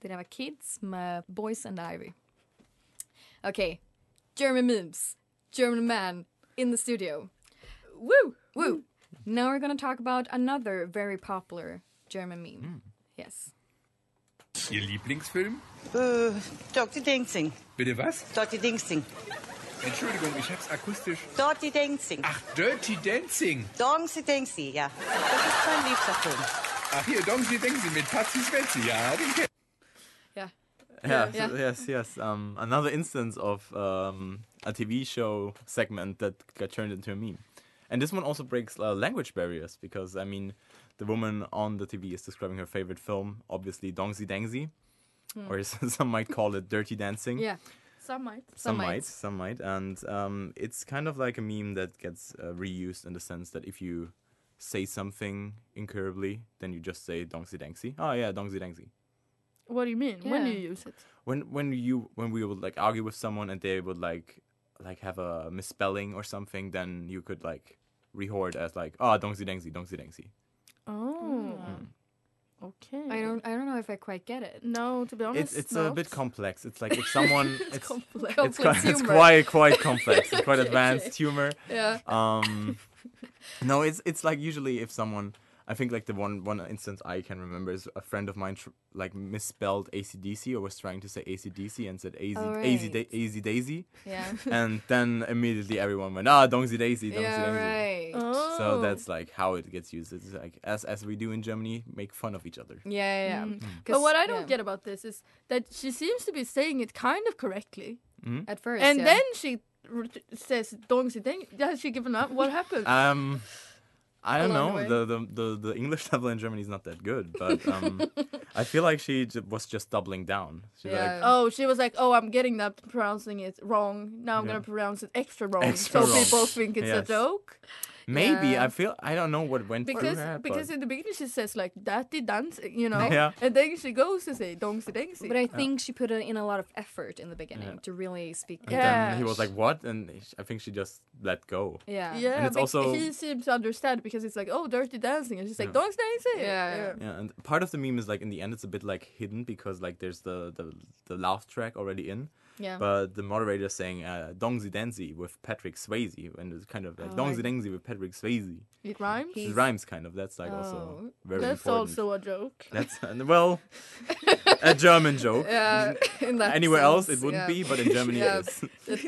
Speaker 2: Did I have kids, my boys and Ivy. Okay, German memes, German man in the studio. Woo, woo. Now we're gonna talk about another very popular German meme.
Speaker 4: Hmm.
Speaker 2: Yes.
Speaker 7: Ihr Lieblingsfilm?
Speaker 1: Dr. Dingsing,
Speaker 7: Bitte was?
Speaker 1: Dr. Dingsing,
Speaker 7: Entschuldigung, ich hab's akustisch.
Speaker 1: Dr. Dingsing,
Speaker 7: Ach, Dirty Dancing.
Speaker 1: Dongsi Dingsing, ja. Das ist mein liebster Film.
Speaker 7: Ach, Ah, hier, Dongsi Dancing mit Patsy Spenzi. Ja, den kenn
Speaker 2: Yeah.
Speaker 4: Yeah,
Speaker 2: Yeah.
Speaker 4: so- yes, yes. Um, another instance of um, a TV show segment that got turned into a meme. And this one also breaks uh, language barriers because, I mean, the woman on the TV is describing her favorite film, obviously Dongsi Dangsi, or s- [LAUGHS] some might call it Dirty Dancing.
Speaker 2: Yeah.
Speaker 3: Some might.
Speaker 4: Some
Speaker 2: might.
Speaker 4: might, some might, and um, it's kind of like a meme that gets uh, reused in the sense that if you say something incurably, then you just say Dongsi Dangsi. Oh yeah, Dongsi Dangsi.
Speaker 3: What do you mean? When do
Speaker 2: Yeah.
Speaker 3: you use it?
Speaker 4: when when you when we would like argue with someone and they would like like have a misspelling or something, then you could like rehord as like ah oh, dongsi dengsi dongsi dengsi.
Speaker 3: Oh.
Speaker 2: Mm.
Speaker 4: Mm.
Speaker 3: Okay.
Speaker 2: I don't. I don't know if I quite get it.
Speaker 3: No, to be honest,
Speaker 4: It's it's
Speaker 3: not.
Speaker 4: a bit complex. It's
Speaker 2: [LAUGHS]
Speaker 4: like if someone it's
Speaker 2: Complex,
Speaker 4: it's, quite, it's
Speaker 2: humor.
Speaker 4: quite quite complex. It's
Speaker 2: [LAUGHS]
Speaker 4: quite advanced humor.
Speaker 2: Yeah. [LAUGHS]
Speaker 4: Um, no, it's it's like usually if someone. I think like the one one instance I can remember is a friend of mine tr- like misspelled ACDC or was trying to say ACDC and said AZ,
Speaker 2: Oh,
Speaker 4: AZ,
Speaker 2: right.
Speaker 4: AZ Daisy. [LAUGHS]
Speaker 2: Yeah.
Speaker 3: [LAUGHS]
Speaker 4: and then immediately everyone went ah dongsi daisy dongsi
Speaker 2: yeah.
Speaker 4: daisy
Speaker 2: Right.
Speaker 3: Oh.
Speaker 4: so that's like how it gets used it's like as as we do in germany make fun of each
Speaker 3: [LAUGHS]
Speaker 4: other Hmm.
Speaker 2: Yeah. Yeah. yeah. 'Cause-
Speaker 3: Mm. But what I don't
Speaker 2: yeah,
Speaker 3: get about this is that she seems to be saying it kind of correctly,
Speaker 2: at first.
Speaker 3: and
Speaker 2: yeah.
Speaker 3: then she r- says "dongsi deng." Has she given up? What happened?
Speaker 4: um i don't
Speaker 3: Along the
Speaker 4: know the the, the the english [LAUGHS] level in germany is not that good but um i feel like she j- was just doubling down She's
Speaker 2: Yeah.
Speaker 3: oh, she was like, "Oh, I'm getting that pronouncing it wrong. Now I'm gonna pronounce it extra wrong,
Speaker 4: Extra
Speaker 3: so
Speaker 4: wrong.
Speaker 3: people think it's
Speaker 4: Yes.
Speaker 3: a joke."
Speaker 4: Maybe
Speaker 3: Yeah.
Speaker 4: I feel I don't know what went through
Speaker 3: Because
Speaker 4: her.
Speaker 3: because
Speaker 4: but-
Speaker 3: in the beginning she says like daddy dance, you know,
Speaker 4: Yeah.
Speaker 3: and then she goes and say dongsy dongsy.
Speaker 2: But I think she put in a lot of effort in the beginning
Speaker 4: Oh. Yeah.
Speaker 2: to really speak.
Speaker 4: and then he was like, "What?" And sh- I think she just let go.
Speaker 2: Yeah.
Speaker 3: yeah,
Speaker 4: And it's
Speaker 3: but
Speaker 4: also-
Speaker 3: he seems to understand because it's like oh dirty dancing, and she's like
Speaker 4: Yeah.
Speaker 3: dongsy dancing.
Speaker 2: Yeah, yeah.
Speaker 4: Yeah, and part of the meme is like in the end it's a bit like hidden because like there's the the, the laugh track already in,
Speaker 2: Yeah.
Speaker 4: but the moderator saying uh, "Dongzi Danzy" with Patrick Swayze, and it's kind of like
Speaker 3: Oh,
Speaker 4: "Dongzi
Speaker 3: right.
Speaker 4: Danzy" with Patrick Swayze.
Speaker 3: It rhymes.
Speaker 4: It rhymes kind of. That's like also very
Speaker 3: Oh, That's
Speaker 4: important.
Speaker 3: also a joke.
Speaker 4: [LAUGHS] that's and,
Speaker 3: [LAUGHS]
Speaker 4: well a German joke.
Speaker 2: Yeah, in that
Speaker 4: Anywhere else
Speaker 2: sense,
Speaker 4: it wouldn't
Speaker 2: yeah.
Speaker 4: be, but in Germany
Speaker 2: Yeah.
Speaker 4: it is. [LAUGHS]
Speaker 2: it,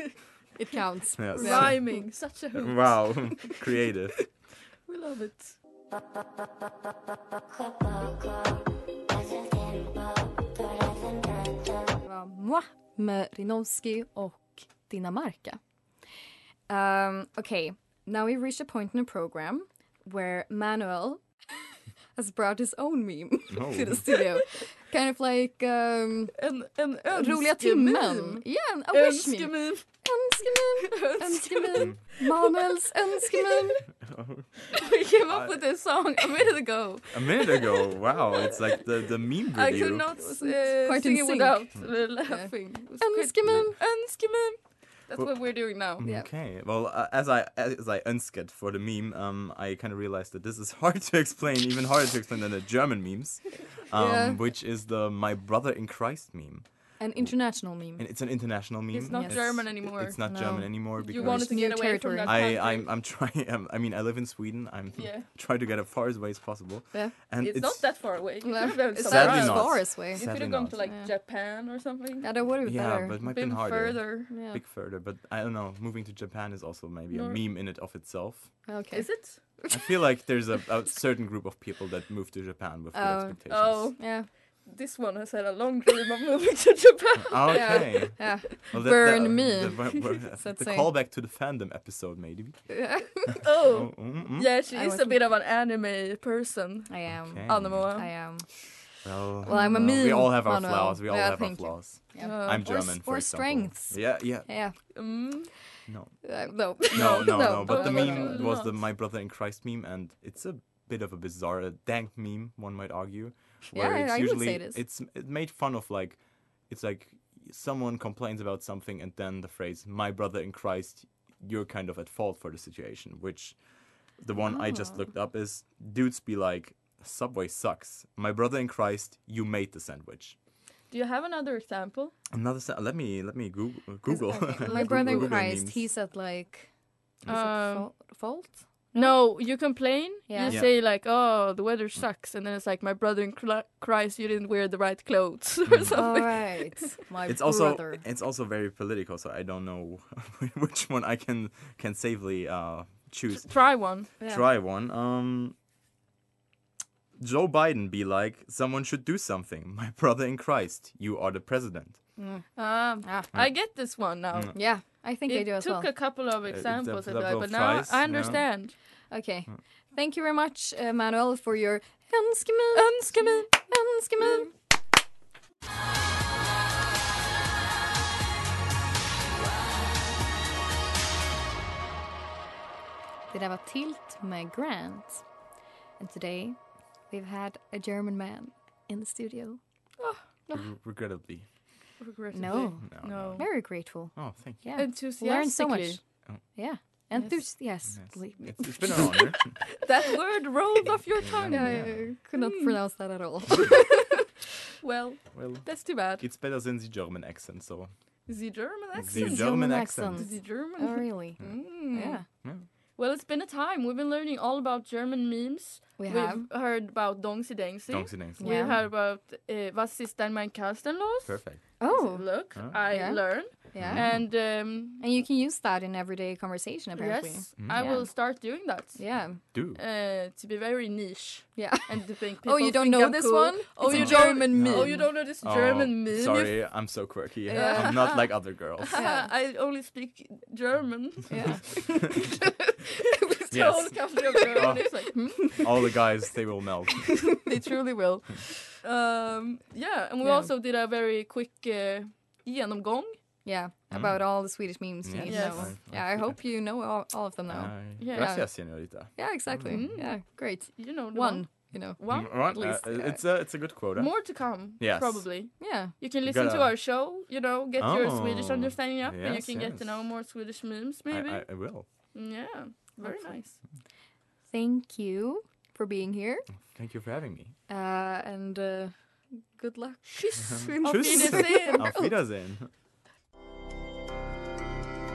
Speaker 2: it counts.
Speaker 4: Yes.
Speaker 3: Rhyming, such a hoot.
Speaker 4: wow, [LAUGHS] creative.
Speaker 3: We love it.
Speaker 2: var Moi med Rinovski och Dinamarca. Um, okay, now we've reached a point in the program where Manuel [LAUGHS] has brought his own meme [LAUGHS]
Speaker 4: Oh.
Speaker 2: to the studio. kind of like um,
Speaker 3: En, en
Speaker 2: Roliga timmen. Yeah, a wish meme. [LAUGHS]
Speaker 3: Önskememe.
Speaker 2: Önskememe.
Speaker 3: [LAUGHS]
Speaker 2: Önskememe.
Speaker 4: Mm.
Speaker 2: Manuels önskememe.
Speaker 3: We came up with this song a minute ago.
Speaker 4: a minute ago, wow, it's like the the meme
Speaker 3: I
Speaker 4: video.
Speaker 3: could not
Speaker 2: wasn't
Speaker 3: uh,
Speaker 2: quite
Speaker 3: sing
Speaker 2: in
Speaker 3: it
Speaker 2: sync.
Speaker 3: without uh,
Speaker 4: Hmm.
Speaker 3: laughing. It was quite-
Speaker 2: Önskememe.
Speaker 3: Önskememe. That's
Speaker 4: Well-
Speaker 3: what we're doing now.
Speaker 2: Yeah.
Speaker 4: Okay. Well, uh, as I as I unsked for the meme, um, I kind of realized that this is [LAUGHS] hard to explain, even harder to explain than the German
Speaker 2: [LAUGHS]
Speaker 4: memes, um,
Speaker 2: Yeah.
Speaker 4: which is the "My brother in Christ" meme,
Speaker 2: An international meme.
Speaker 4: and it's an international meme.
Speaker 3: not German
Speaker 4: it-
Speaker 3: anymore.
Speaker 4: It's not
Speaker 2: No.
Speaker 4: German anymore because
Speaker 3: You wanted to
Speaker 2: New
Speaker 3: get away
Speaker 2: territory.
Speaker 3: from that
Speaker 4: I
Speaker 3: country.
Speaker 4: I'm, [LAUGHS] I'm trying. i I mean, I live in Sweden. I'm
Speaker 3: [LAUGHS] Yeah.
Speaker 4: [LAUGHS] trying to get as far as away as possible.
Speaker 2: Yeah.
Speaker 4: And
Speaker 3: it's, not that far away. You could've been
Speaker 2: It's
Speaker 3: somewhere
Speaker 4: Sadly
Speaker 2: not as
Speaker 3: else.
Speaker 4: not.
Speaker 2: far as way.
Speaker 3: You
Speaker 4: Sadly
Speaker 3: could have gone
Speaker 4: not.
Speaker 3: to like
Speaker 2: Yeah.
Speaker 3: Japan or something.
Speaker 2: Yeah, that would have been
Speaker 4: [LAUGHS] Yeah,
Speaker 2: better.
Speaker 4: but it might
Speaker 3: been
Speaker 4: been harder.
Speaker 3: further.
Speaker 2: Yeah.
Speaker 4: Big further, but I don't know. Moving to Japan is also maybe
Speaker 3: Nor-
Speaker 4: a meme in it of itself.
Speaker 2: Okay.
Speaker 3: Is it?
Speaker 4: I feel like there's a, a certain group of people that move to Japan with
Speaker 2: Oh.
Speaker 4: the expectations.
Speaker 3: Oh,
Speaker 2: Yeah.
Speaker 3: this one has had a long dream of moving
Speaker 4: [LAUGHS]
Speaker 3: to Japan.
Speaker 4: Okay.
Speaker 2: oh, Yeah.
Speaker 4: Well, um,
Speaker 2: Burn
Speaker 4: the,
Speaker 2: me.
Speaker 4: The, the,
Speaker 2: [LAUGHS] So it's
Speaker 4: the
Speaker 2: like-
Speaker 4: callback to the fandom episode, maybe.
Speaker 2: [LAUGHS] yeah.
Speaker 3: Oh,
Speaker 4: Mm, mm.
Speaker 3: yeah, she
Speaker 2: I
Speaker 3: is a
Speaker 2: wasn't-
Speaker 3: bit of an anime person.
Speaker 2: I am.
Speaker 4: Okay.
Speaker 3: Anemo.
Speaker 2: I am.
Speaker 4: Well, uh,
Speaker 2: Well, I'm a
Speaker 4: We
Speaker 2: meme,
Speaker 4: all have our
Speaker 2: Manuel.
Speaker 4: flaws. We all
Speaker 2: Yeah,
Speaker 4: have our
Speaker 2: thank you.
Speaker 4: flaws.
Speaker 3: Oh.
Speaker 2: Yeah.
Speaker 4: I'm
Speaker 2: Or s-
Speaker 4: German. for
Speaker 2: or
Speaker 4: example.
Speaker 2: strengths.
Speaker 4: Yeah, yeah.
Speaker 2: Yeah.
Speaker 3: Mm.
Speaker 4: No.
Speaker 2: Uh,
Speaker 4: [LAUGHS]
Speaker 2: no. [LAUGHS]
Speaker 4: No, no, no.
Speaker 2: no,
Speaker 4: But the
Speaker 2: no, no,
Speaker 4: meme
Speaker 3: no,
Speaker 4: was
Speaker 3: no.
Speaker 4: the My Brother in Christ meme, and it's a bit of a bizarre, a dank meme, one might argue. Where
Speaker 2: Yeah,
Speaker 4: it's
Speaker 2: I would say
Speaker 4: usually,
Speaker 2: it is.
Speaker 4: It's, it made fun of like, it's like someone complains about something, and then the phrase, My Brother in Christ, you're kind of at fault for the situation, which the one I just looked up
Speaker 2: Oh.
Speaker 4: is dudes be like, Subway sucks. My brother in Christ, you made the sandwich.
Speaker 3: Do you have another example?
Speaker 4: Another sa- let me let me Google Google. [LAUGHS]
Speaker 2: My brother in
Speaker 4: Google
Speaker 2: Christ,
Speaker 4: memes.
Speaker 2: he's at like. Is
Speaker 3: Um,
Speaker 2: it fault? fault?
Speaker 3: No, you complain.
Speaker 2: Yeah.
Speaker 3: You
Speaker 4: Yeah.
Speaker 3: say like, "Oh, the weather sucks," and then it's like, "My brother in Cri- Christ, you didn't wear the right clothes [LAUGHS]
Speaker 4: Mm.
Speaker 3: or
Speaker 2: All
Speaker 3: [LAUGHS] something."
Speaker 2: right. My
Speaker 4: it's also
Speaker 2: brother.
Speaker 4: it's also very political, so I don't know [LAUGHS] which one I can can safely uh, choose.
Speaker 3: Try one.
Speaker 2: Yeah.
Speaker 4: Try one. Um, Joe Biden be like, someone should do something. My [LAUGHS] brother in Christ, you are the president.
Speaker 3: Um,
Speaker 2: Ah.
Speaker 3: I get this one now.
Speaker 2: Yeah. I think I
Speaker 3: It
Speaker 2: do as
Speaker 3: took
Speaker 2: well.
Speaker 3: a couple of examples,
Speaker 4: a
Speaker 3: of that,
Speaker 4: couple
Speaker 3: but
Speaker 4: of
Speaker 3: now
Speaker 4: tries,
Speaker 3: I
Speaker 4: yeah.
Speaker 3: understand.
Speaker 2: Okay.
Speaker 4: Mm.
Speaker 2: Thank you very much, uh, Manuel, for your önskemän. Önskemän. Önskemän. Det där var Tilt med Grant. And today we've had a German man in the studio.
Speaker 4: Re- regrettably.
Speaker 3: Regrettably.
Speaker 2: No.
Speaker 4: No,
Speaker 3: No.
Speaker 2: Very grateful.
Speaker 4: Oh, thank you.
Speaker 2: Yeah.
Speaker 3: Enthusiastically.
Speaker 2: Learned so much.
Speaker 4: Oh.
Speaker 2: Yeah. Enthusiastically.
Speaker 4: It's- it's been an honor.
Speaker 3: [LAUGHS] That word rolled off your tongue.
Speaker 2: I could not pronounce that at all.
Speaker 3: Well,
Speaker 4: well,
Speaker 3: that's too bad.
Speaker 4: it's better than the German accent, so.
Speaker 3: The German
Speaker 4: The
Speaker 3: accent.
Speaker 4: German,
Speaker 2: German
Speaker 4: accent.
Speaker 2: accent.
Speaker 3: The German.
Speaker 2: oh, really?
Speaker 3: Mm.
Speaker 2: Yeah.
Speaker 3: Well, it's been a time. We've been learning all about German memes.
Speaker 2: We
Speaker 3: We've
Speaker 2: have.
Speaker 3: heard about Dongsi Dengsi.
Speaker 4: Don't say names.
Speaker 2: Yeah.
Speaker 3: We've heard about uh, Was ist denn mein Kastenlos?
Speaker 4: Perfect.
Speaker 2: Oh,
Speaker 3: Look,
Speaker 4: Ah.
Speaker 3: I
Speaker 2: Yeah.
Speaker 3: learn.
Speaker 2: yeah.
Speaker 3: And um,
Speaker 2: And you can use that in everyday conversation, apparently.
Speaker 3: yes, I
Speaker 2: Yeah.
Speaker 3: will start doing that.
Speaker 2: Yeah.
Speaker 4: Do.
Speaker 3: Uh, to be very niche
Speaker 2: Yeah.
Speaker 3: and to
Speaker 2: [LAUGHS]
Speaker 3: think
Speaker 2: Oh,
Speaker 3: people
Speaker 2: you don't
Speaker 3: think
Speaker 2: know
Speaker 3: I'm
Speaker 2: this
Speaker 3: cool. [LAUGHS]
Speaker 2: one?
Speaker 3: Oh,
Speaker 2: It's a
Speaker 3: you
Speaker 2: German
Speaker 3: don't,
Speaker 2: meme.
Speaker 3: Oh, you don't know this
Speaker 4: Oh,
Speaker 3: German meme? you
Speaker 4: Sorry, I'm so quirky.
Speaker 3: Yeah.
Speaker 4: I'm not like other girls.
Speaker 2: Yeah.
Speaker 3: [LAUGHS] I only speak
Speaker 4: [LAUGHS]
Speaker 3: German.
Speaker 2: Yeah.
Speaker 3: The whole
Speaker 4: Yes.
Speaker 3: country of German is like, hmm,
Speaker 4: All the guys, they will
Speaker 3: [LAUGHS]
Speaker 4: melt. Uh,
Speaker 3: they truly will. Um, yeah, and we
Speaker 2: Yeah.
Speaker 3: also did a very quick uh, eh, genomgång
Speaker 2: Yeah, about all the Swedish memes.
Speaker 4: Yeah,
Speaker 2: You
Speaker 4: Yes.
Speaker 2: know.
Speaker 4: fine.
Speaker 2: Yeah, I hope you know all, all of them now.
Speaker 4: Aye.
Speaker 2: yeah.
Speaker 4: Gracias, señorita.
Speaker 2: Yeah, exactly. Yeah, great.
Speaker 3: You know, the
Speaker 2: one,
Speaker 3: one.
Speaker 2: you know.
Speaker 3: One,
Speaker 4: Mm, right,
Speaker 3: at least.
Speaker 4: uh, it's a it's a good quota.
Speaker 3: More to come,
Speaker 4: Yes.
Speaker 3: probably.
Speaker 2: Yeah.
Speaker 3: You can listen to
Speaker 4: gotta-
Speaker 3: our show, you know, get your Swedish
Speaker 4: Oh,
Speaker 3: understanding up, and you
Speaker 4: yes,
Speaker 3: can get to
Speaker 4: yes.
Speaker 3: know more Swedish memes,
Speaker 4: I,
Speaker 3: maybe. Mm,
Speaker 4: I, I will.
Speaker 3: Yeah, very nice.
Speaker 2: Thank you for being here.
Speaker 4: Thank you for having me.
Speaker 2: Uh, and uh, good luck.
Speaker 3: Auf
Speaker 4: Tschüss. [LAUGHS]
Speaker 3: Wiedersehen.
Speaker 4: Auf Wiedersehen.